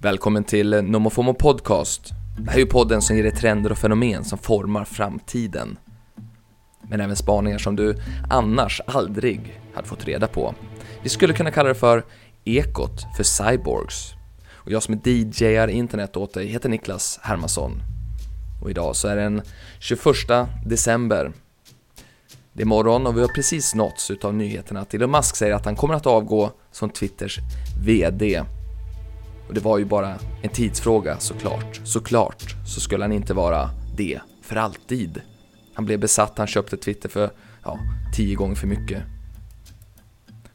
Välkommen till Nomofomo Podcast. Det här är ju podden som ger dig trender och fenomen som formar framtiden. Men även spaningar som du annars aldrig hade fått reda på. Vi skulle kunna kalla det för Ekot för Cyborgs. Och jag som DJar internet åt dig heter Niklas Hermansson. Och idag så är det den 21 december. Det är morgon och vi har precis nåtts utav nyheterna att Elon Musk säger att han kommer att avgå som Twitters VD. Och det var ju bara en tidsfråga såklart. Såklart så skulle han inte vara det för alltid. Han blev besatt, han köpte Twitter för, ja, tio gånger för mycket.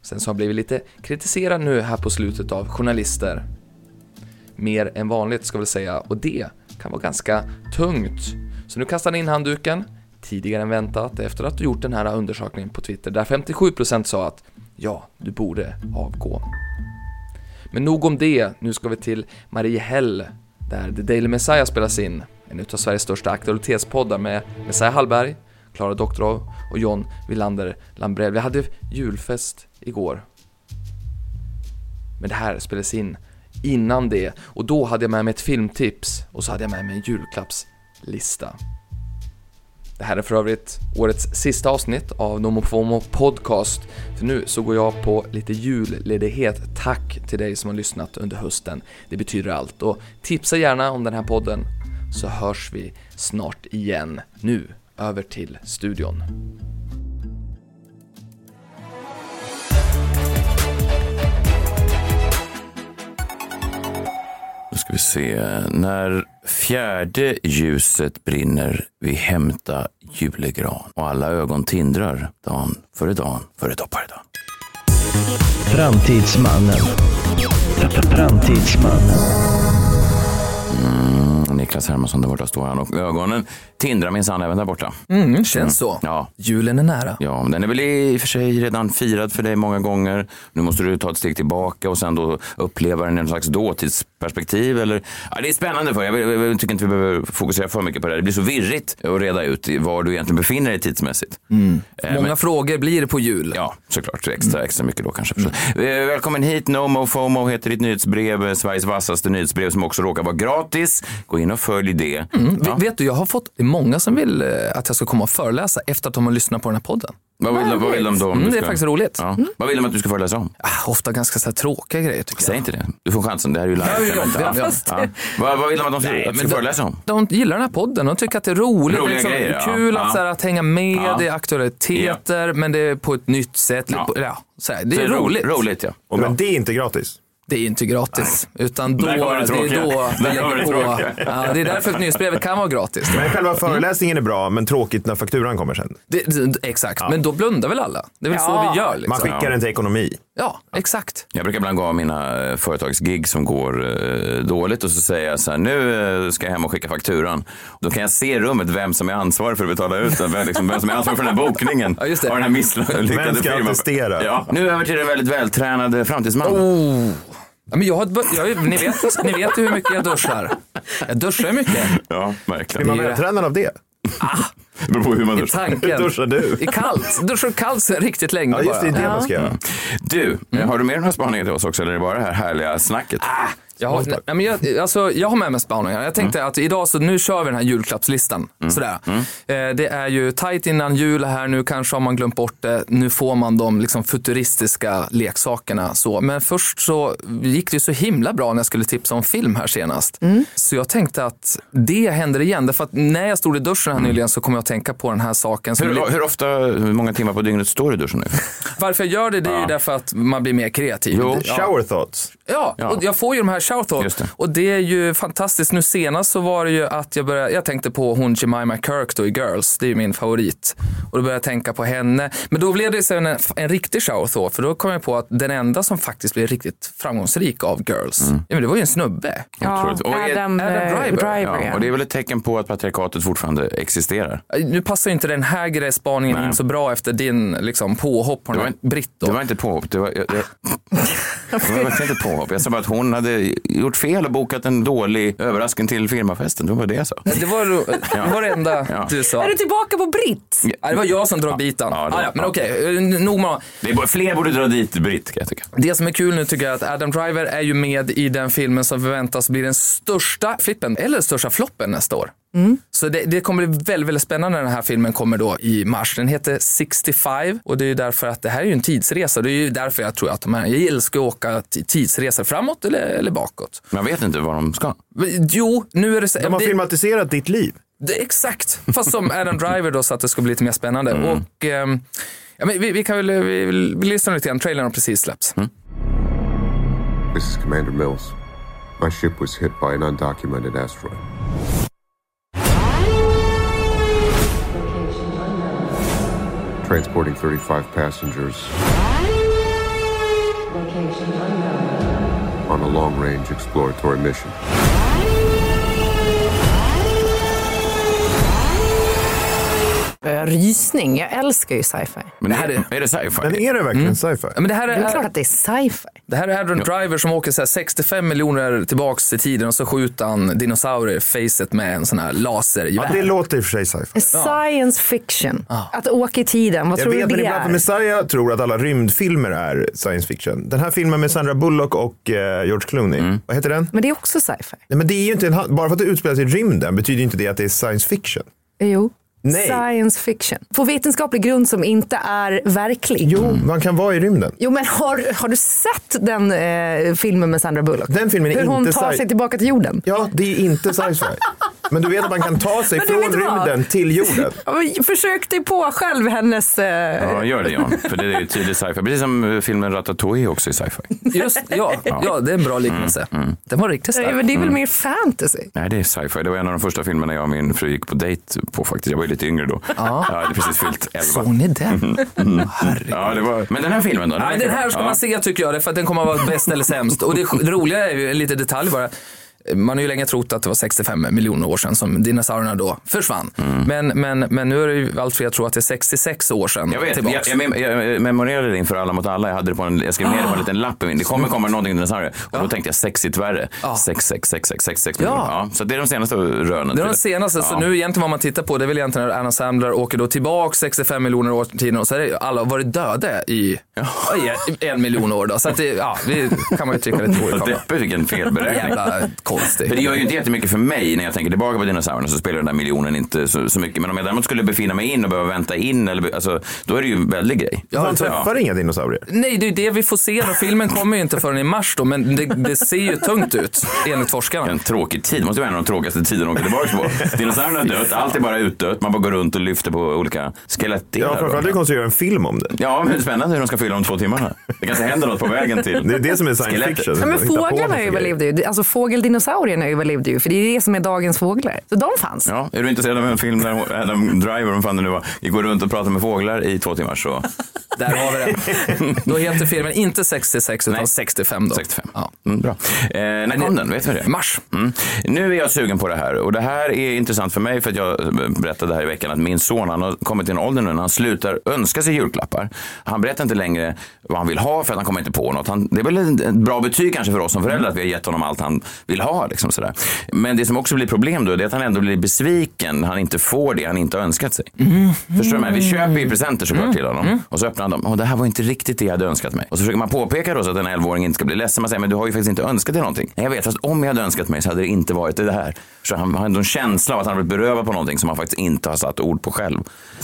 Sen så har han blivit lite kritiserad nu här på slutet av journalister. Mer än vanligt ska vi säga och det kan vara ganska tungt. Så nu kastar han in handduken, tidigare än väntat, efter att du gjort den här undersökningen på Twitter där 57% sa att ja, du borde avgå. Men nog om det, nu ska vi till Mariehäll där The Daily Messiah spelas in. En utav Sveriges största aktualitetspoddar med Messiah Hallberg, Klara Doktorov och John Wilander Lambrell. Vi hade julfest igår. Men det här spelades in innan det och då hade jag med mig ett filmtips och så hade jag med mig en julklappslista. Det här är för övrigt årets sista avsnitt av Nomofomo Podcast. För nu så går jag på lite julledighet. Tack till dig som har lyssnat under hösten. Det betyder allt. Och tipsa gärna om den här podden så hörs vi snart igen. Nu över till studion. Då ska vi se. När fjärde ljuset brinner vi hämta julegran och alla ögon tindrar dan före dan före dag före dag. Framtidsmannen. Fr- fr- Framtidsmannen. Mm, Niklas Hermansson där borta står han och ögonen tindrar minsann även där borta. Mm, känns så. Ja. Julen är nära. Ja, men den är väl i och för sig redan firad för dig många gånger. Nu måste du ta ett steg tillbaka och sen då uppleva den i någon slags dåtidsperspektiv. Eller... Ja, det är spännande för jag, vill- jag, vill- tycker inte vi behöver fokusera för mycket på det här. Det blir så virrigt att reda ut i var du egentligen befinner dig tidsmässigt. Eh, men- Många frågor blir det på jul. Ja, såklart. Extra, Mm. extra mycket då kanske. Eh, Välkommen hit. Nomo FOMO heter ditt nyhetsbrev. eh, Sveriges vassaste nyhetsbrev som också råkar vara gratis. Gå in och följ det. Ve- Vet du, jag har fått det är många som vill eh, att jag ska komma och föreläsa efter att de har lyssnat på den här podden. Vad vill, de- vad vill de då? om Mm, du det är ska- faktiskt roligt. Ja. Vad vill de att du ska föreläsa om? Ah, ofta ganska så här tråkiga grejer tycker jag. Säg inte det. Du får chansen. Det här är ju live. Ja, ja, Vänta. ja, Ja. fast- Ja. Vad, vad vill de att de ska, att du ska men då- föreläsa om? De gillar den här podden. De tycker att det är roligt. Roliga liksom, grejer, ja. kul att, Ja. så här, att hänga med. Ja. Det är aktualiteter, men det är på ett nytt sätt. Ja. Ja. Ja, så här, det, Så är ro- roligt. Roligt, ja. Och men det är inte gratis. Det är inte gratis. Utan då, det Där kommer det är tråkiga. då vi Där kommer det lägger på. tråkiga. Ja, det är därför ett nyhetsbrevet kan vara gratis. Men själva föreläsningen är bra, men tråkigt när fakturan kommer sen. Det, det, exakt, men då blundar väl alla? Det är väl så Ja. vi gör? Man Liksom. skickar den till ekonomi. Ja, exakt. Jag brukar ibland gå av mina eh, företagsgig som går eh, dåligt och så säger jag så här, nu eh, ska jag hem och skicka fakturan. Då kan jag se i rummet vem som är ansvarig för att betala ut den, vem, liksom, vem som är ansvarig för den här bokningen Ja, just det. av den här misslyckade Vem ska firman. attestera? Oh. Ja, nu över till den väldigt eh, vältränade framtidsmannen. Oh. Ja, men jag, har ett bör- jag, ni, vet, ni vet ju hur mycket jag duschar. Jag duschar ju mycket. Ja, Blir verkligen. man Det är- vältränad av det? Det beror på hur man duschar. Tanken. duschar du? I kallt. Duschar kallt sen riktigt länge Ja, just det, det är bara. det man ska göra. Du, Mm. eh, har du mer några spaningar till oss också eller är det bara det här härliga snacket? Ah, Jag har, nej, men jag, alltså, jag har med mig spaningar. Mm. Jag tänkte att idag så nu kör vi den här julklappslistan. Sådär. Mm. Eh, det är ju tajt innan jul här nu, kanske har man glömt bort det. Nu får man de liksom, futuristiska leksakerna. Så. Men först så gick det ju så himla bra när jag skulle tipsa om film här senast. Mm. Så jag tänkte att det händer igen. Därför att när jag stod i duschen här nyligen så kom jag att tänka på den här saken. Som Mm. Hur, hur ofta, hur många timmar på dygnet står du i duschen nu? varför jag gör det, det är ju därför att man blir mer kreativ. Jo. Ja. Shower thoughts. Ja, Ja. och jag får ju de här shoutouts. Just det. Och det är ju fantastiskt. Nu senast så var det ju att jag började, jag tänkte på hon Jemima Kirk då i Girls. Det är ju min favorit. Och då började jag tänka på henne. Men då blev det sen en, en riktig shoutout. För då kom jag på att den enda som faktiskt blev riktigt framgångsrik av Girls, Mm. ja, men det var ju en snubbe. Otroligt. Och är- Adam Adam, eh, Driver. Driver Ja, ja. och det är väl ett tecken på att patriarkatet fortfarande existerar? Nu passar ju inte den här grejspaningen in så bra efter din liksom, påhopp på den var här inte- Britt. då. Det var inte ett påhopp. Det var, jag, jag, Det var inte ett påhopp. Jag sa bara att hon hade gjort fel och bokat en dålig överraskning till firmafesten. Det var det jag sa. Det var, det, var det enda Ja. du sa. Är typ- du tillbaka på Britt? Ja, det var jag som drog bitan. Ja, Ja, det var- ja, men okej, eh, nog med Det är bara, fler borde dra dit Britt kan jag tycka. Det som är kul nu tycker jag är att Adam Driver är ju med i den filmen som förväntas bli den största flippen, eller största floppen nästa år. Så det, det kommer bli väldigt, väldigt spännande när den här filmen kommer då i mars. Den heter 65 och det är ju därför att det här är ju en tidsresa. Det är ju därför jag tror att de här, jag älskar att åka t- tidsresor framåt eller, eller bakåt. Man vet inte vad de ska. Men, jo, nu är det så. De har det- filmatiserat ditt liv. det, exakt, fast som Adam Driver då så att det skulle bli lite mer spännande. Mm. Och, ehm, ja, men vi, vi kan väl vi, vi, vi lyssnar lite grann, trailern har precis släppts. Mm. This is Commander Mills. My ship was hit by an undocumented asteroid. Transporting 35 passengers on a long range exploratory mission. Eh, Rysning. Jag älskar ju sci-fi. Men Det här är, är det Men sci-fi? är det verkligen sci-fi? Mm. Ja, Men det här Det är är, klart att det är sci-fi. Det här är Adam Driver som åker så här 65 miljoner tillbaks i tiden och så skjuter han dinosaurier i facet med en sån här Ja, det lasergevär. låter i och för sig sci-fi. Science fiction. Att åka i tiden. Vad Jag tror vet, du men det ibland är? för Messiah tror att alla rymdfilmer är science fiction. Den här filmen med Sandra Bullock och eh, George Clooney, Mm. vad heter den? Men det är också sci-fi. Nej, men det är ju inte en, ha- bara för att det utspelar sig i rymden betyder ju inte det att det är science fiction. Jo. Nej. Science fiction. På vetenskaplig grund som inte är verklig. Jo, Mm. man kan vara i rymden. Jo men har, har du sett den eh, filmen med Sandra Bullock? Den filmen är Hur hon inte tar sci- sig tillbaka till jorden. Ja, det är inte sci-fi. men du vet att man kan ta sig Men du från vet vad? rymden till jorden. Ja, men Försök dig på själv hennes... Eh, Ja, gör det Jan. För det är ju tydlig sci-fi. Precis som eh, filmen Ratatouille också är sci-fi. Just, ja, ja, det är en bra Mm, liknelse. Den var riktigt nej, stark. men det är väl mer fantasy? Nej, det är sci-fi. Det var en av de första filmerna jag och min fru gick på dejt på faktiskt. Jag var ju lite yngre då. Ja. Jag hade precis fyllt Såg 11. ni den? Ja, det var... Men den här filmen då? Nej, den här ska Mm, Ja. man se tycker jag, därför att den kommer att vara bäst eller sämst. Och det, det roliga är ju en liten detalj bara. Man har ju länge trott att det var 65 miljoner år sedan som dinosaurierna då försvann. Mm. Men, men, men nu är det ju allt fler tror att det är 66 år sedan Jag vet, jag, tillbaks. jag, mem- jag memorerade det inför Alla mot alla. Jag, hade det på en, jag skrev ner det på en liten lapp. i min- Det kommer komma någonting dinosaurier. Och då tänkte jag sexigt värre. Ja. Sex, sex, sex, sex, sex, sex. Ja. miljoner. Ja, så det är de senaste rönen. Det är till de senaste, så nu egentligen vad man tittar på det är väl egentligen när Anna Sandler åker då tillbaka 65 miljoner år till tiden och så är det alla har varit döda i, i en miljon år då. Så att det, ja, det kan man ju tycka är lite Vad olika. deppigt, vilken felberäkning. Jävla För det konstigt. gör ju inte jättemycket för mig när jag tänker tillbaka på dinosaurierna så spelar den där miljonen inte så, så mycket. Men om jag däremot skulle befinna mig in och behöva vänta in, eller, be- alltså, då är det ju en väldig grej. Man träffar inga dinosaurier. Nej, det är ju det vi får se då. Filmen kommer ju inte förrän i mars då, men det, det ser ju tungt ut enligt forskarna. En tråkig tid, måste vara en av de tråkigaste tiderna att åka tillbaka på. Dinosaurierna har dött, allt är bara utdött, man bara går runt och lyfter på olika skelettdelar. Ja, framförallt är det konstigt att göra en film om det. Ja, men spännande hur de ska fylla de två timmarna. Det kanske händer något på vägen till. Det är det som är science Skelettet. fiction. Ja, men Hitta på massa fåglarna grejer. överlevde ju. Alltså fågeldinosaurierna överlevde ju. För det är det som är dagens fåglar. Så de fanns. Ja, är du intresserad av en film där Adam Driver, vad fan det nu var, går runt och pratar med fåglar i två timmar så Där har vi det. Då heter filmen inte 66 utan Nej. 65 då. 65. Ja. Mm, bra. Eh, när kom den? Vet vi det? Mars. Mm. Nu är jag sugen på det här och det här är intressant för mig för att jag eh, berättade här i veckan att min son han har kommit till en ålder nu när han slutar önska sig julklappar. Han berättar inte längre vad han vill ha för att han kommer inte på något. Han, det är väl en- ett bra betyg kanske för oss som föräldrar att vi har gett honom allt han vill ha. Liksom sådär. Men det som också blir problem då det är att han ändå blir besviken när han inte får det han inte har önskat sig. Förstår du? Mig? Vi Mm. köper ju presenter såklart till honom och så öppnar han dem. Åh, det här var inte riktigt det jag hade önskat mig. Och så försöker man påpeka då så att en 11-åring inte ska bli ledsen. Man säger, men du har ju faktiskt inte önskat dig någonting. Nej, jag vet, fast om jag hade önskat mig så hade det inte varit det här. Så han har ändå en känsla av att han har blivit berövad på någonting som han faktiskt inte har satt ord på själv.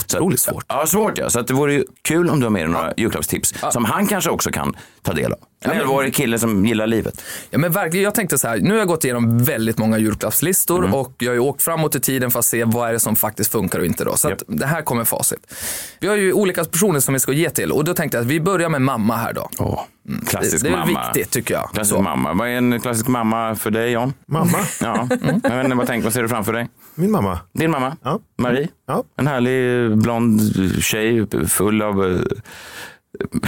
Så Otroligt att, svårt. Ja, svårt ja. Så att det vore ju kul om du har med dig några julklappstips som han kanske också kan ta del av. En 11-årig kille som gillar livet. Ja, men verkligen, jag tänkte så här, nu har jag gått igenom väldigt många julklappslistor Mm. och jag har ju åkt framåt i tiden för att se vad är det som faktiskt funkar och inte. Då. Så att det här kommer facit. Vi har ju olika personer som vi ska ge till och då tänkte jag att vi börjar med mamma här då. Åh, Mm, klassisk det är mamma. viktigt, tycker jag. Klassisk Så. mamma. Vad är en klassisk mamma för dig, John? Mamma, Ja, Mm. jag vet inte, vad, tänk, vad ser du framför dig? min mamma. Din mamma, Ja. Marie. Ja. En härlig blond tjej full av, eh,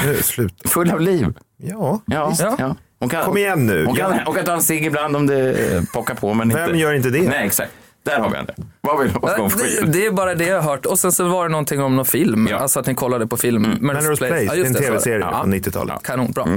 Nu, slut. full av liv. Ja. Ja. Ja. Ja. Hon kan, Kom igen nu. Hon kan, hon kan ta en cigg ibland om det eh, pockar på. Men Vem inte. gör inte det? Nej, exakt. Där har vi henne. Vad vill vad ska hon få Det, skit? det är bara det jag har hört. Och sen så var det någonting om någon film, Ja. alltså att ni kollade på film. Mm. Melrose Place, det är en så var det. tv-serie Ja. från 90-talet. Kanon, bra.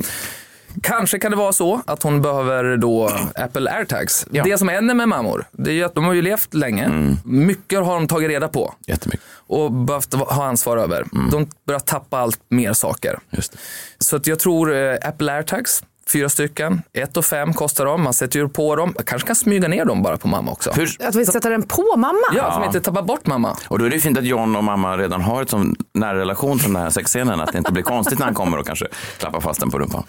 Kanske kan det vara så att hon behöver då Apple AirTags. Det som händer med mammor, det är ju att de har ju levt länge. Mycket har de tagit reda på Jättemycket. och behövt ha ansvar över. De börjar tappa allt mer saker. Just det. Så att jag tror eh, Apple AirTags, fyra stycken, ett och fem kostar de. Man sätter ju på dem. Jag kanske kan smyga ner dem bara på mamma också. Hur, Att vi sätter den på mamma? Ja, för att inte tappa bort mamma. och då är det ju fint att John och mamma redan har ett sån nära relation från den här sexscenen. Att det inte blir konstigt när han kommer och kanske klappar fast den på rumpan.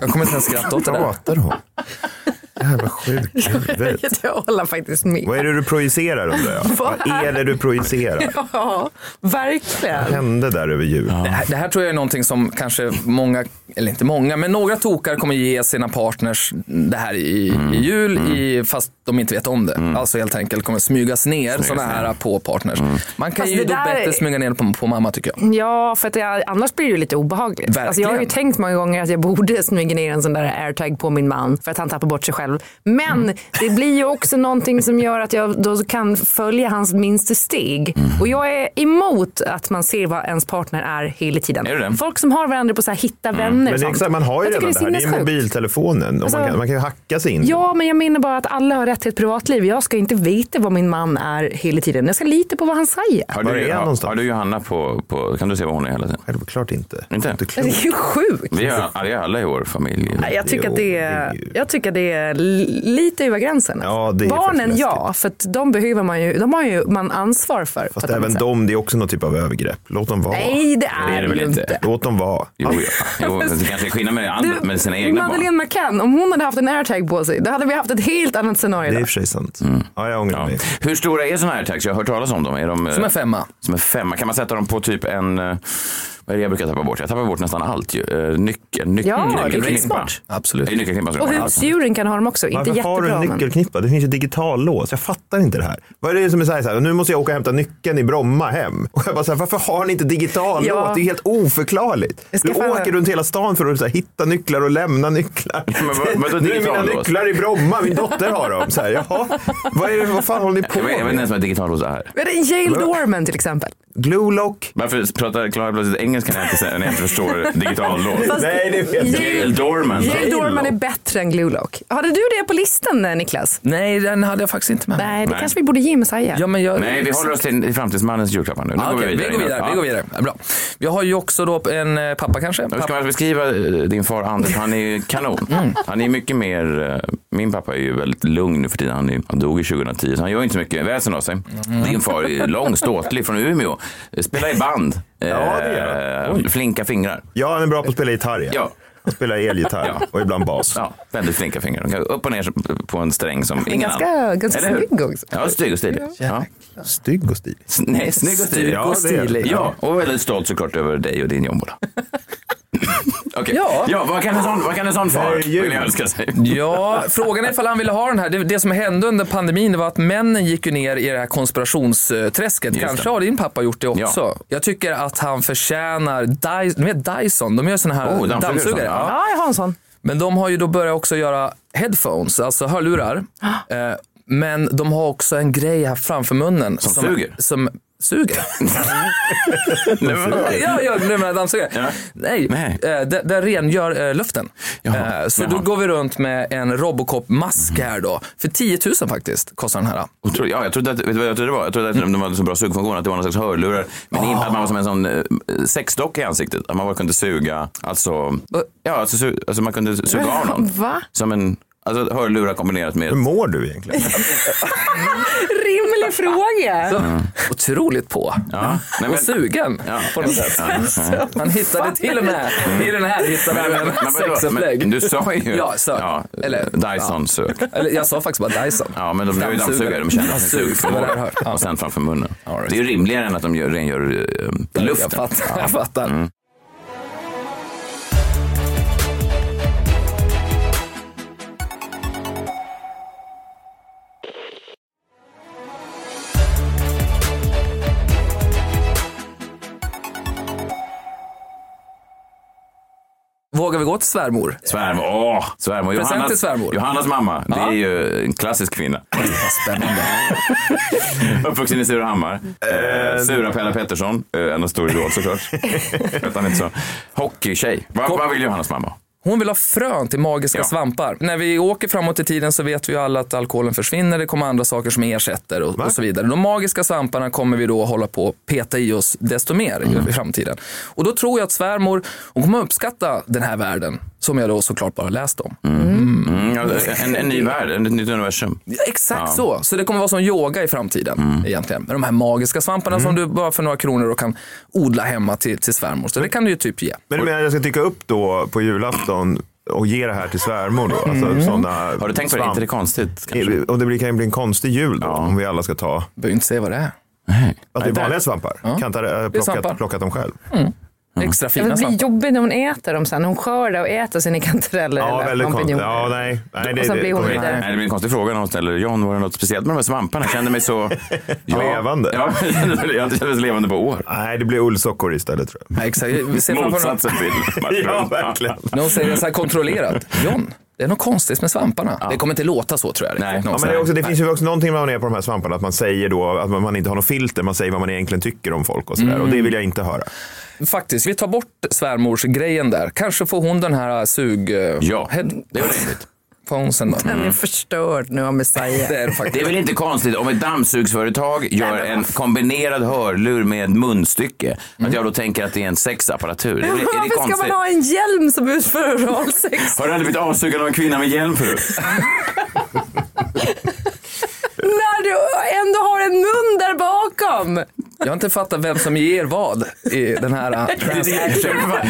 Jag kommer inte ens skratta åt det där. Pratar hon? Jävla sjuk i huvudet. Jag håller faktiskt med. Vad är det du projicerar undrar jag? Vad är det du projicerar? Ja, Vad verkligen. hände där över jul? Det här, det här tror jag är någonting som kanske många, eller inte många, men några tokar kommer ge sina partners det här i, i jul i, fast de inte vet om det. Alltså helt enkelt kommer smygas ner sådana här på partners. Man kan Fast ju det då där bättre är- smyga ner på, på mamma tycker jag. Ja, för att jag, annars blir det ju lite obehagligt. Alltså jag har ju Verkligen. tänkt många gånger att jag borde smyga ner en sån där airtag på min man för att han tappar bort sig själv. Men Mm. det blir ju också någonting som gör att jag då kan följa hans minsta steg. Mm. Och jag är emot att man ser vad ens partner är hela tiden. Är du det? Folk som har varandra på så här hitta vänner Mm. Men och det är sånt. exakt, man har ju jag tycker redan det här. Det är sinnessjukt. mobiltelefonen. Och Alltså- man, kan, man kan ju hacka sig in. Ja, men jag menar bara att alla har rätt till ett privatliv. Jag ska inte veta vad min man är hela tiden. Jag ska lita på vad han säger. Har Var är du, han har, någonstans? har du Johanna på, på, kan du se var hon är hela tiden? Självklart inte. Inte? Alltså, Det klokt. är ju sjukt. Vi är, det är alla i vår familj. Nej, Jag tycker, Jo, att det det är är, ju- jag tycker att det är li- lite över gränsen. alltså. Ja, det är Barnen, faktiskt ja. För att de behöver man ju, de har ju man ansvar för. på Fast ett annat även sätt. de, det är också någon typ av övergrepp. Låt dem vara. Nej, det är, Det är det väl ju inte. inte. Låt dem vara. Jo, jo, jo men det kanske är skillnad med, andra, med sina egna barn. Madeleine McCann, om hon hade haft en airtag på sig, då hade vi haft ett helt annat scenario. Det är i idag. och för sig sant. Ja, jag ångrar Mm. Ja. mig. Hur stora är sådana här tags? Jag har hört talas om dem. Är de, eh, Som en femma. som en femma. Kan man sätta dem på typ en... eh, Vad är det jag brukar tappa bort? Jag tappar bort nästan allt ju. Eh, Nyckel, nyckel, Ja, det är nyckelknippa. smart. Absolut. Eh, Nyckelknippa ska Och jag ha. husdjuren kan ha dem också. Inte Varför har du jättebra. en Men... nyckelknippa? Det finns ju digital lås. Jag fattar inte det här. Vad är det som är så här, så här nu måste jag åka och hämta nyckeln i Bromma hem. Och jag bara så här, varför har ni inte digital Ja. lås? Det är helt oförklarligt. Jag ska Du fan- åker runt hela stan för att så här, hitta nycklar och lämna nycklar. men vad- vadå nu är digital mina lås? nycklar i Bromma, min dotter har dem. Så här, jaha, vad, är det, vad fan håller ni på Jag vet jag vet inte med? ens vad ett digitallås är. Men det är Jail Dorman till exempel. Glue lock? Varför pratar Klara plötsligt engelska när jag inte, säger- när jag inte förstår digitallås? Fast- Nej, det vet jag Gail Dorman. Jail Dorman är bättre än Glue Lock. Hade du det på listan eh, Niklas? Nej, den hade jag faktiskt inte med. Nej, det Nej. kanske vi borde ge Messiah. Ja, men jag... Nej, vi håller oss till framtidsmannens julklappar nu. Nu Ja, okej, vi går vidare. Vi går vidare. Bra. Vi har ju också då en eh, pappa kanske. Hur ska Pappa. man beskriva eh, din far Anders? Han är ju kanon. Han är mycket mer, eh, min pappa är ju väldigt lugn nu för tiden. Han, är, han dog i 2010 så han gör inte så mycket väsen av sig. Din far är ju lång, ståtlig från Umeå. Eh, Spelar i band. det gör Eh, Flinka fingrar. Ja, han är bra på att spela gitarr. Ja. Han spelar elgitarr Ja. och ibland bas. Ja, väldigt flinka fingrar. De kan Upp och ner på en sträng som ingen ganska- annan. ganska Eller hur? snygg också. Ja, snygg och stilig. Ja. Stygg och stilig. S- Nej, snygg och stilig. Ja, det är det. Ja, och väldigt stolt såklart över dig och din jombola. Okej, Ja. ja. vad, kan en sån, vad kan en sån far Det är jul. vilja önska sig? Ja, frågan är ifall han ville ha den här. Det, det som hände under pandemin det var att männen gick ju ner i det här konspirationsträsket. Just Kanske det. har din pappa gjort det också. Ja. Jag tycker att han förtjänar Dyson, ni vet Dyson, de gör såna här Oh, dammsugare och dammsugare. sånt. Ja. Ja, jag har en sån. Men de har ju då börjat också göra headphones, alltså hörlurar. Eh, Men de har också en grej här framför munnen. Som, suger? Som suger. Nej, men vadå? ja, jag glömmer en dammsugare. Ja. Nej, Nej. Eh, det- den rengör eh, luften. Jaha. Eh, så Jaha. då går vi runt med en Robocop-mask här då. För 10 000 faktiskt kostar den här. Otro- Ja, jag trodde att, vet du vad jag trodde det var? Jag trodde att de hade så bra sugfunktion att det var någon slags hörlurar. Men inte att man var som en sån eh, sexdocka i ansiktet. Att man bara kunde suga, alltså, ja, alltså, su- alltså man kunde suga av någon. Va? Som en, alltså hörlurar kombinerat med... Hur mår du egentligen? Rimlig fråga. Så, Otroligt på. Ja. Nej, men, Och sugen Ja. Mm. på något sätt. Han hittade till och med, i den här hittade han en vadå? sexupplägg. men du sa ju... Ja, sök. Eller- Dyson sök. Eller jag sa faktiskt bara Dyson. Ja, men de gör ju dammsugare. De känner sin Dammsugare, det var det jag sugförmåga. hörde. Ja. Och sen framför munnen. All right. Det är ju rimligare än att de gör, rengör eh, Jag luften. fattar. Jag fattar. Vågar vi gå till svärmor? Svärmor, åh! Svärmor. Present Johannas, till svärmor. Johannas mamma, det Ja. är ju en klassisk kvinna. Spännande. Uppvuxen i Surahammar. Eh, Sura Pella Pettersson, eh, en av stor idol såklart. Vet han inte så. Hockeytjej. Vad vad vill Johannas mamma? Hon vill ha frön till magiska Ja. svampar. När vi åker framåt i tiden så vet vi ju alla att alkoholen försvinner, det kommer andra saker som ersätter och, och så vidare. De magiska svamparna kommer vi då hålla på och peta i oss desto mer Mm. i i framtiden. Och då tror jag att svärmor, hon kommer uppskatta den här världen som jag då såklart bara läst om. Mm, ja, en, en ny värld, ett nytt universum. Ja, Exakt så. Så det kommer vara som yoga i framtiden Mm. egentligen. Med de här magiska svamparna som du bara för några kronor då kan odla hemma till, till svärmor. Så det kan du ju typ ge. Men du menar att jag ska dyka upp då på julafton och ge det här till svärmor då? Alltså, såna Har du tänkt på det? inte det är konstigt? Kanske? Och det blir- kan ju bli en konstig jul då, om vi alla ska ta. Behöver inte säga vad det är. Nej. Att det är vanliga svampar. Kantar, äh, plockat, svampar. plockat dem själv. Mm. Extra Det fina blir svampar. jobbigt när hon äter dem sen. Hon skördar och äter sina kantareller Ja, eller väldigt konstigt. champinjoner. Ja, nej. nej det, sen det, blir hon kommer- vidare. Nej, det blir en konstig fråga någon ställer. John, var det något speciellt med de här svamparna? Jag kände mig så... Levande. Ja, jag kände mig så levande på år. nej, det blir ullsockor istället tror jag. Ja, exakt. Vi ser framför oss Motsatsen till Mats Ja, Brunn. verkligen. när hon säger så här kontrollerat. John, det är något konstigt med svamparna. Det kommer inte låta så tror jag. riktigt Nej. någonsin. Ja, men det, är också, det finns ju också någonting när man är på de här svamparna, att man säger då att man inte har något filter, man säger vad man egentligen tycker om folk och sådär. Mm. Och det vill jag inte höra. Faktiskt, vi tar bort svärmorsgrejen där. Kanske får hon den här äh, sug... Ja, head- det var rimligt. Får hon sen då? Mm. Den är förstörd Mm. nu av Messiah. Det är det Det är faktiskt. väl inte konstigt om ett dammsugsföretag gör en kombinerad hörlur med munstycke. Att jag då tänker att det är en sexapparatur. Det är, väl- är det Varför ska man konstigt? ha en hjälm som utför oralsex? Har du aldrig blivit avsugad av en kvinna med hjälm förut? Alltså, när du ändå har en mun där bakom? Jag har inte fattat vem som ger vad i den här... äh, Det är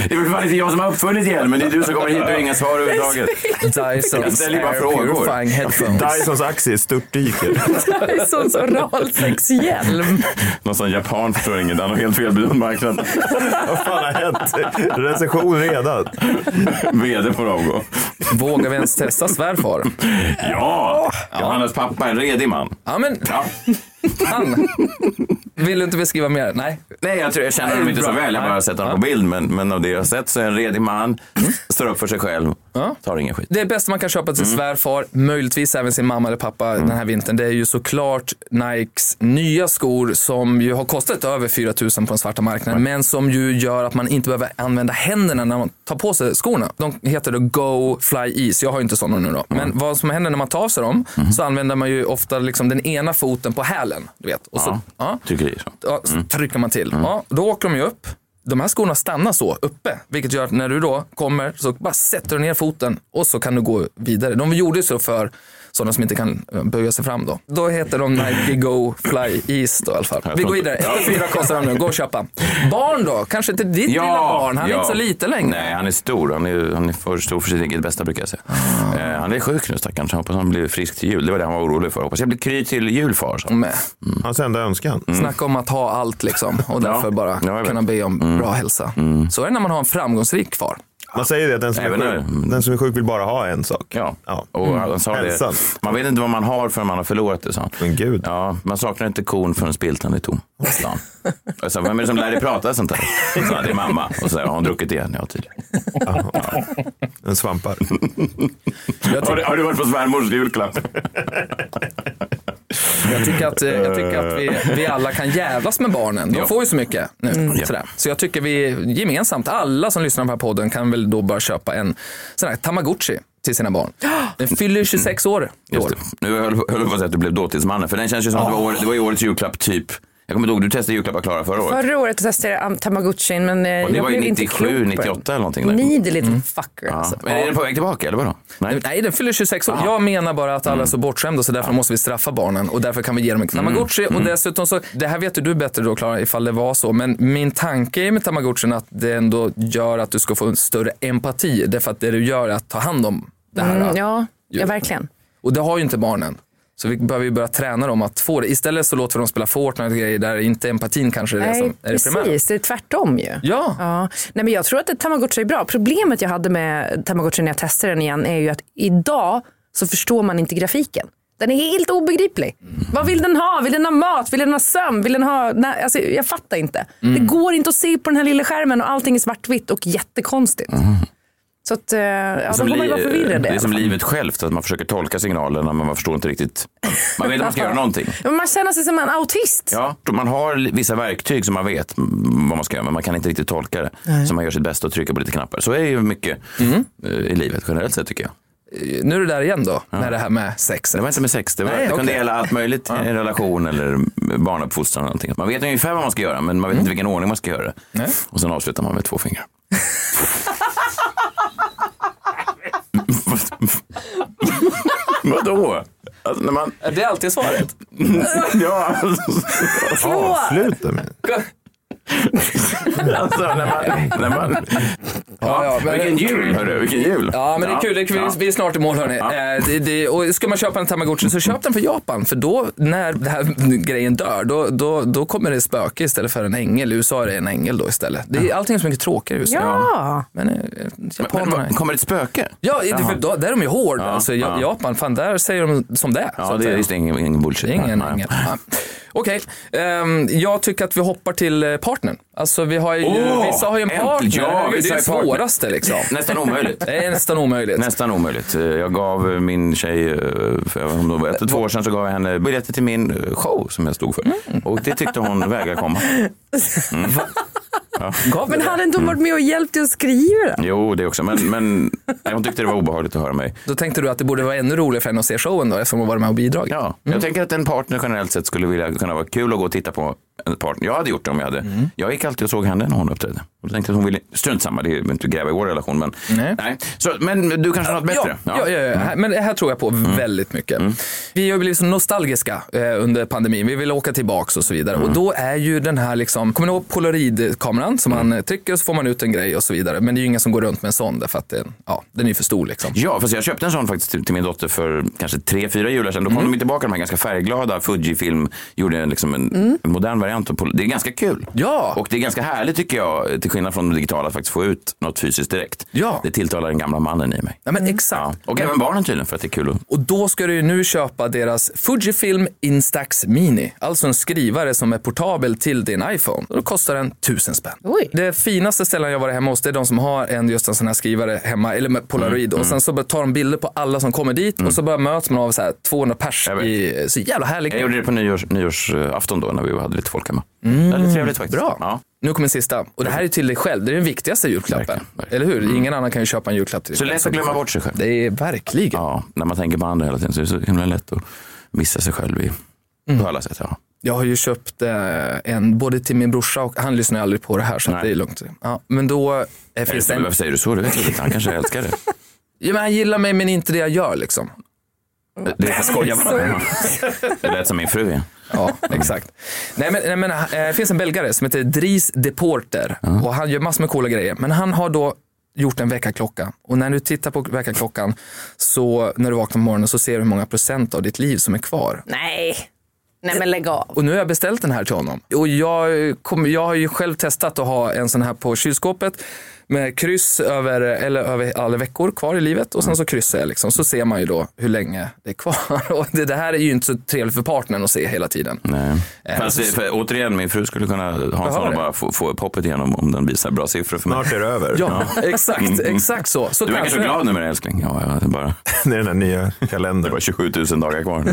det är väl fan inte jag som har uppfunnit hjälmen. Det är du som kommer hit och har inga svar överhuvudtaget. Jag Dysons ställer ju bara Air frågor. Purifying Headphones. Dysons axie störtdyker. Dysons oralsexhjälm. Någon sån japan förstår inget. Han har helt felbedömt marknaden. Vad fan har hänt? Recension redan. Vd får avgå. Vågar vi ens testa svärfar? Ja! Johannes pappa, en redig man. Ja, men Ja. han. Vill du inte beskriva mer? Nej. Nej, jag, tror, jag känner honom inte så väl. Jag har bara sett honom på bild. Men, men av det jag har sett så är en redig man. Står upp för sig själv. Tar ingen skit. Det bästa man kan köpa till sin svärfar, möjligtvis även sin mamma eller pappa den här vintern, det är ju såklart Nikes nya skor som ju har kostat över 4 000 på den svarta marknaden, men som ju gör att man inte behöver använda händerna när man tar på sig skorna. De heter då Go Fly Ease, jag har ju inte sådana nu då. Men vad som händer när man tar av sig dem så använder man ju ofta liksom den ena foten på hälen. Du vet. Och så, ja. Tycker det är så. ja, så trycker man till. Mm. Ja, då åker de ju upp. De här skorna stannar så uppe, vilket gör att när du då kommer så bara sätter du ner foten och så kan du gå vidare. De gjorde så för sådana som inte kan eh, böja sig fram då. Då heter de Nike Go Fly East då i alla fall. Vi går vidare, efter fyra kostar de nu, gå och köpa. Barn då, kanske inte ditt lilla barn, han är ja. inte så liten längre. Nej, han är stor. Han är, han är för stor för sitt eget bästa brukar jag säga. Ah. Eh, han är sjuk nu stackarn. så Jag hoppas han blir frisk till jul. Det var det han var orolig för. Hoppas jag blir kry till jul far. sa han. Med. Hans enda önskan. Snacka om att ha allt liksom och därför bara Mm. ja, jag vet. Mm. kunna be om bra hälsa. Så är det när man har en framgångsrik far. Man säger det att den som, är Även sjuk, nu. den som är sjuk vill bara ha en sak. Ja. Ja. och Mm. han sa det. Hälsan. Man vet inte vad man har förrän man har förlorat det, sa han. Men gud. Ja, man saknar inte kon förrän spiltan är tom. sa han. Jag sa, vem är det som lär dig prata sånt här? Så han, det är mamma. Och så har hon druckit igen? Ja, tydligen. En svampar. Har du, har du varit på svärmors julklapp? Jag tycker att, eh, jag tycker att vi, vi alla kan jävlas med barnen. De Ja. Mm. får ju så mycket nu. Ja. Sådär. Så jag tycker vi gemensamt, alla som lyssnar på den här podden kan väl då bara köpa en sån här tamagotchi till sina barn. Den fyller 26 år i Just år. det. Nu höll höll jag på att säga att du blev dåtidsmannen, för den känns ju som att det var, år, det var ju årets julklapp, typ. Jag kommer inte ihåg, du testade julklappar Klara förra året. Förra året testade jag am- tamagotchin men eh, Och det jag var ju blev inte 97, klok på 98 eller någonting. den. Där. Need a little fucker Ja. alltså. Men är den på väg tillbaka eller vadå? Nej. Nej, den fyller 26 Ah. år. Jag menar bara att Mm. alla är så bortskämda så därför måste vi straffa barnen och därför kan vi ge dem en tamagotchi. Mm. Och dessutom så, det här vet ju du bättre då Klara ifall det var så, men min tanke är med tamagotchin att det ändå gör att du ska få en större empati. Därför att det du gör är att ta hand om det här. Mm, ja, ja, verkligen. Och det har ju inte barnen. Så vi behöver ju börja träna dem att få det. Istället så låter vi dem spela Fortnite och grejer där inte empatin kanske är det som Nej, är det primära. precis. Det är tvärtom ju. Ja. Ja. Nej, men jag tror att tamagotchi är bra. Problemet jag hade med tamagotchi när jag testade den igen är ju att idag så förstår man inte grafiken. Den är helt obegriplig. Mm. Vad vill den ha? Vill den ha mat? Vill den ha sömn? Vill den ha... Nej, alltså, jag Mm. fattar inte. Det går inte att se på den här lilla skärmen och allting är svartvitt och jättekonstigt. Så att, eh, ja, då kommer man ju vara förvirrad. Mm. det i är alla som fall. livet självt, att man försöker tolka signalerna men man förstår inte riktigt. Man vet att man ska göra någonting. Men man känner sig som en autist. Ja, man har li- vissa verktyg som man vet mm, vad man ska göra men man kan inte riktigt tolka det. Så man gör sitt bästa och trycker på lite knappar. Så är det ju mycket eh, i livet generellt sett tycker jag. Eh, Nu är det där igen då, med det här med sex. Det var inte med sex, det, var, Nej, det kunde okej. gälla allt möjligt i en relation eller barnuppfostran. eller Någonting. Man vet ungefär vad man ska göra men man vet Mm. inte vilken ordning man ska göra det. Och sen avslutar man med två fingrar. Vadå? Alltså, när man... Det är alltid svaret. ja, alltså. Avsluta med. Alltså, när man... När man ja, ja, men- vilken jul, hörru. Vilken jul. Ja, men det är kul. Det är kul. Ja. Vi är snart i mål hörni. Ja. Eh, Det, det, och ska man köpa en Tamagotchi så köp den från Japan. För då, när den här grejen dör, då, då, då kommer det spöke istället för en ängel. I USA är det en ängel då istället. Det är, allting är så mycket tråkigare i USA. Ja. Men eh, Men, japanerna... vad- kommer det ett spöke? Ja, det- för då, där är de ju hård. alltså, Ja- ja. Japan, fan där säger de som det är, så Ja, att det är säga. just ingen, ingen bullshit. Det är ingen Nej. ängel. Ja. Okej, ehm, jag tycker att vi hoppar till eh, partnern. Alltså vi har ju, Åh, vissa har ju en äntligen. partner. Ja, det är vissa det har ju partner. svåraste liksom. Nästan omöjligt. Det är nästan omöjligt. Nästan omöjligt. Eh, Jag gav eh, min tjej, eh, för jag vet inte om det var Eh, ett eller två år sedan, så gav jag henne biljetter till min eh, show som jag stod för. Mm. Och det tyckte hon vägrade komma. Gav Men men hade inte hon varit med och hjälpt dig att skriva den? Jo, det också. Men, men nej, hon tyckte det var obehagligt att höra mig. Då tänkte du att det borde vara ännu roligare för henne att se showen då eftersom hon var med och bidragit. Ja, jag tänker att en partner generellt sett skulle vilja kunna vara kul att gå och titta på en partner. Jag hade gjort det om jag hade. Mm. Jag gick alltid och såg henne när hon uppträdde. Och då tänkte jag att hon ville, strunt samma, det är ju inte att gräva i vår relation. Men, Nej. Så, men du kanske har något bättre? Mm. Ja, ja, ja, ja. Här- men det här tror jag på väldigt mycket. Vi har ju blivit så nostalgiska eh, under pandemin. Vi vill åka tillbaks och så vidare. Mm. Och då är ju den här, liksom, kommer ni ihåg polaroidkameran som Mm. man eh, trycker och så får man ut en grej och så vidare. Men det är ju ingen som går runt med en sån därför att den, ja, den är ju för stor liksom. Ja, fast jag köpte en sån faktiskt till till min dotter för kanske tre, fyra jular sedan. Då kom Mm. de tillbaka, de här ganska färgglada. Fujifilm gjorde en, liksom en en modern variant. av pol- Det är ganska kul. Mm. Ja. Och det är ganska härligt tycker jag, till skillnad från det digitala, att faktiskt få ut något fysiskt direkt. Ja. Det tilltalar den gamla mannen i mig. Ja, men Ja. exakt. Och även barnen tydligen, för att det är kul. att- Och då ska du ju nu köpa deras Fujifilm Instax Mini. Alltså en skrivare som är portabel till din iPhone. Och då kostar den tusen spänn. Oj. Det finaste ställen jag varit hemma hos det är de som har en, just en sån här skrivare hemma, eller med Mm, polaroid. Och sen så bara tar de bilder på alla som kommer dit och så bara möts man av så här 200 pers. Jag vet. I, så jävla härligt. Jag gjorde det på nyårs, nyårsafton då, när vi hade lite folk hemma. Mm. Väldigt trevligt faktiskt. Bra. Ja. Nu kommer sista. Och det här är till dig själv. Det är den viktigaste julklappen. Verkligen, verkligen. Mm. Eller hur? Ingen annan kan ju köpa en julklapp till dig Så själv lätt som att du glömma får. bort sig själv. Det är verkligen. Ja, när man tänker på andra hela tiden så är det så himla lätt att missa sig själv i, Mm. på alla sätt. Ja. Jag har ju köpt eh, en både till min brorsa och han lyssnar ju aldrig på det här så att Nej. det är lugnt. Ja, men då eh, finns det en... Varför säger du så? Du vet inte, han kanske älskar det. Ja, men han gillar mig men inte det jag gör liksom. Det, jag skojar bara. Det lät som min fru. ja. Ja, exakt. Nej men, nej, men eh, det finns en belgare som heter Dries Deporter och han gör massor med coola grejer. Men han har då gjort en väckarklocka och när du tittar på väckarklockan så när du vaknar på morgonen så ser du hur många procent av ditt liv som är kvar. Nej. Nej men lägg av. Och nu har jag beställt den här till honom. Och jag, kom, jag har ju själv testat att ha en sån här på kylskåpet med kryss över, eller över alla veckor kvar i livet och sen så kryssar jag liksom. Så ser man ju då hur länge det är kvar. Och det, det här är ju inte så trevligt för partnern att se hela tiden. Nej. Eh, Fast, för, återigen, min fru skulle kunna ha en sån och det. bara få, få upp hoppet igenom om den visar bra siffror för mig. Snart är det över. Ja, exakt, exakt så. så Du verkar så kanske- glad nu med det älskling. Ja, ja, det är bara, Det är den här nya det kalendern. var 27 000 dagar kvar.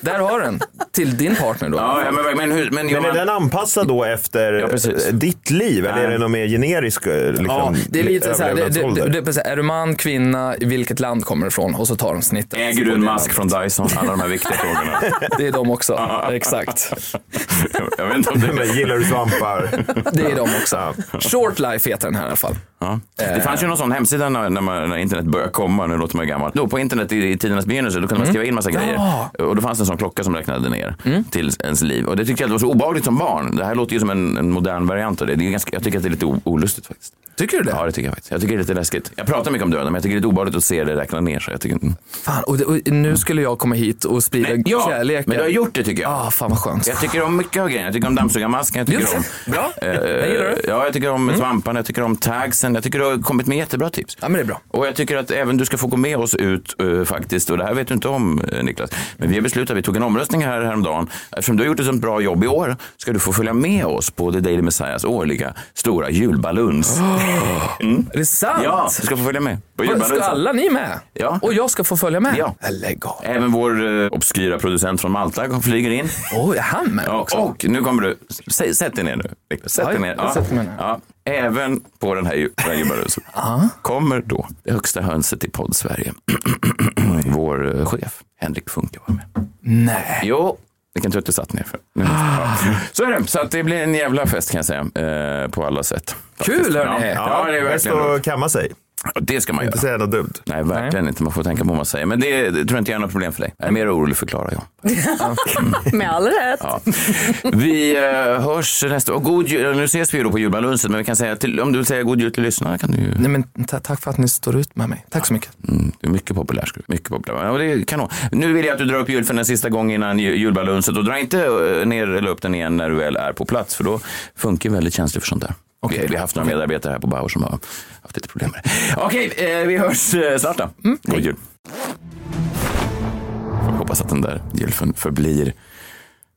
Där har du den, till din partner då. Ja, ja, men, men, hur, men, Men är den anpassad då efter Ja, precis. eh, ditt liv? Eller är det någon mer generisk eh, liksom, Ja, det är lite så här, det, det, överlevnadsålder? det, det, är precis, är du man, kvinna, i vilket land kommer du ifrån? Och så tar de snittet. Äger du en mask från Dyson? Alla de här viktiga frågorna. Det är de också, exakt. Jag vet inte om det, Men gillar du svampar? Det är de också. Ja. Short Life heter den här i alla fall. ja. det fanns ju någon sån hemsida när, när, man, när internet började komma, nu låter man ju gammal. Då på internet i, i tidernas begynnelse då kunde man skriva in massa grejer. Och då fanns det en sån klocka som räknade ner till ens liv. Och det tyckte jag var så obehagligt som barn. Det här låter ju som en, en modern variant av det. det är ganska, jag tycker att det är lite o- olustigt faktiskt. Tycker du det? Ja, det tycker jag faktiskt. Jag tycker det är lite läskigt. Jag pratar mycket om döden, men jag tycker det är lite obehagligt att se det räkna ner sig. Jag tycker inte... Fan, och, det, och nu skulle jag komma hit och sprida Mm. Ja, kärleken. men du har gjort det tycker jag. Ah, fan vad skönt. Jag tycker om mycket av grejerna. Jag tycker om dammsugarmasken. Jag tycker Just om... det. Bra. Eh, gillar det. ja, jag tycker om svamparna. Jag tycker om tagsen. Magnus. Jag tycker du har kommit med jättebra tips. Ja, men det är bra. Och jag tycker att även du ska få gå med oss ut eh, faktiskt. Och det här vet du inte om eh, Niklas. Men vi har beslutat, vi tog en omröstning här häromdagen. Eftersom du har gjort ett sånt bra jobb i år ska du få följa med oss på The Daily Messiahs årliga stora julbaluns. Är det sant? Ja, du ska få följa med. På Vad, Ska julbalunsen. alla ni med? Ja. Och jag ska få följa med? Ja. Lägg av. Även vår eh, obskyra producent från Malta flyger in. Oj, är han med Ja, också? och nu kommer du. Säg, sätt dig ner nu. Niklas. Sätt Oj, dig ner. jag sätter mig ner. Ja. Även på den här ju- den här jubelrörelsen kommer då det högsta hönset i podd Sverige. Vår eh, chef Henrik Funke var med. Nej. Ah. Jo, vilken tur att du satt ner för. Nu måste- Ja. Så är det. Så att det blir en jävla fest kan jag säga. Eh, på alla sätt. Faktiskt. Kul, hörni. Ja. ja, det är Bäst verkligen roligt. att kamma sig. Ja, Det ska man göra. Inte säga något dumt. Nej, verkligen inte. Man får tänka på vad man säger. Men det, det tror jag inte är något problem för dig. Jag är mer orolig förklarar jag. Med all rätt. Ja. Vi eh, hörs nästa och god jul. Nu ses vi ju då på julbalansen, men vi kan säga till, om du vill säga god jul till lyssnarna kan du ju. Nej, men ta- tack för att ni står ut med mig. Tack så mycket. Mm, du är mycket populär. ska du- Mycket populär. Ja, det är kanon. Nu vill jag att du drar upp julfen en sista gång innan ju- julbalansen och dra inte eh, ner eller upp den igen när du väl är på plats för då funkar ju väldigt känslig för sånt där. Vi, vi har haft några medarbetare här på Bauer som har haft lite problem med det. Okej, eh, vi hörs eh, snart då. God jul. Får hoppas att den där julfen förblir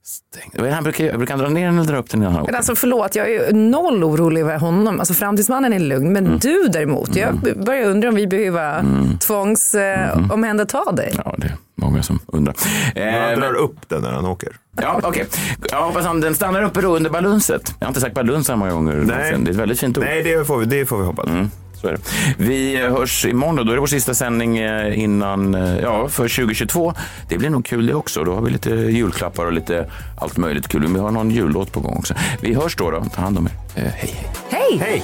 stängd. Vad är det Han brukar, brukar han dra ner den eller dra upp den innan han åker? Men alltså förlåt, jag är ju noll orolig över honom. Alltså framtidsmannen är lugn, men du däremot. Jag börjar undra om vi behöver tvångs eh, omhänderta dig. Ja, det är många som undrar. Eh, Han drar men, upp den när han åker. ja, okej. Jag hoppas han den stannar uppe då under balunset. Jag har inte sagt baluns så många gånger. någonsin. Det är ett väldigt fint ord. Nej, det får vi, det får vi hoppas. Mm. Så är det. Vi hörs imorgon och då är det vår sista sändning eh, innan, eh, ja, för 2022. Det blir nog kul det också. Då har vi lite julklappar och lite allt möjligt kul. Vi har någon jullåt på gång också. Vi hörs då. då. Ta hand om er. Eh, hej, hej. Hej! Hej!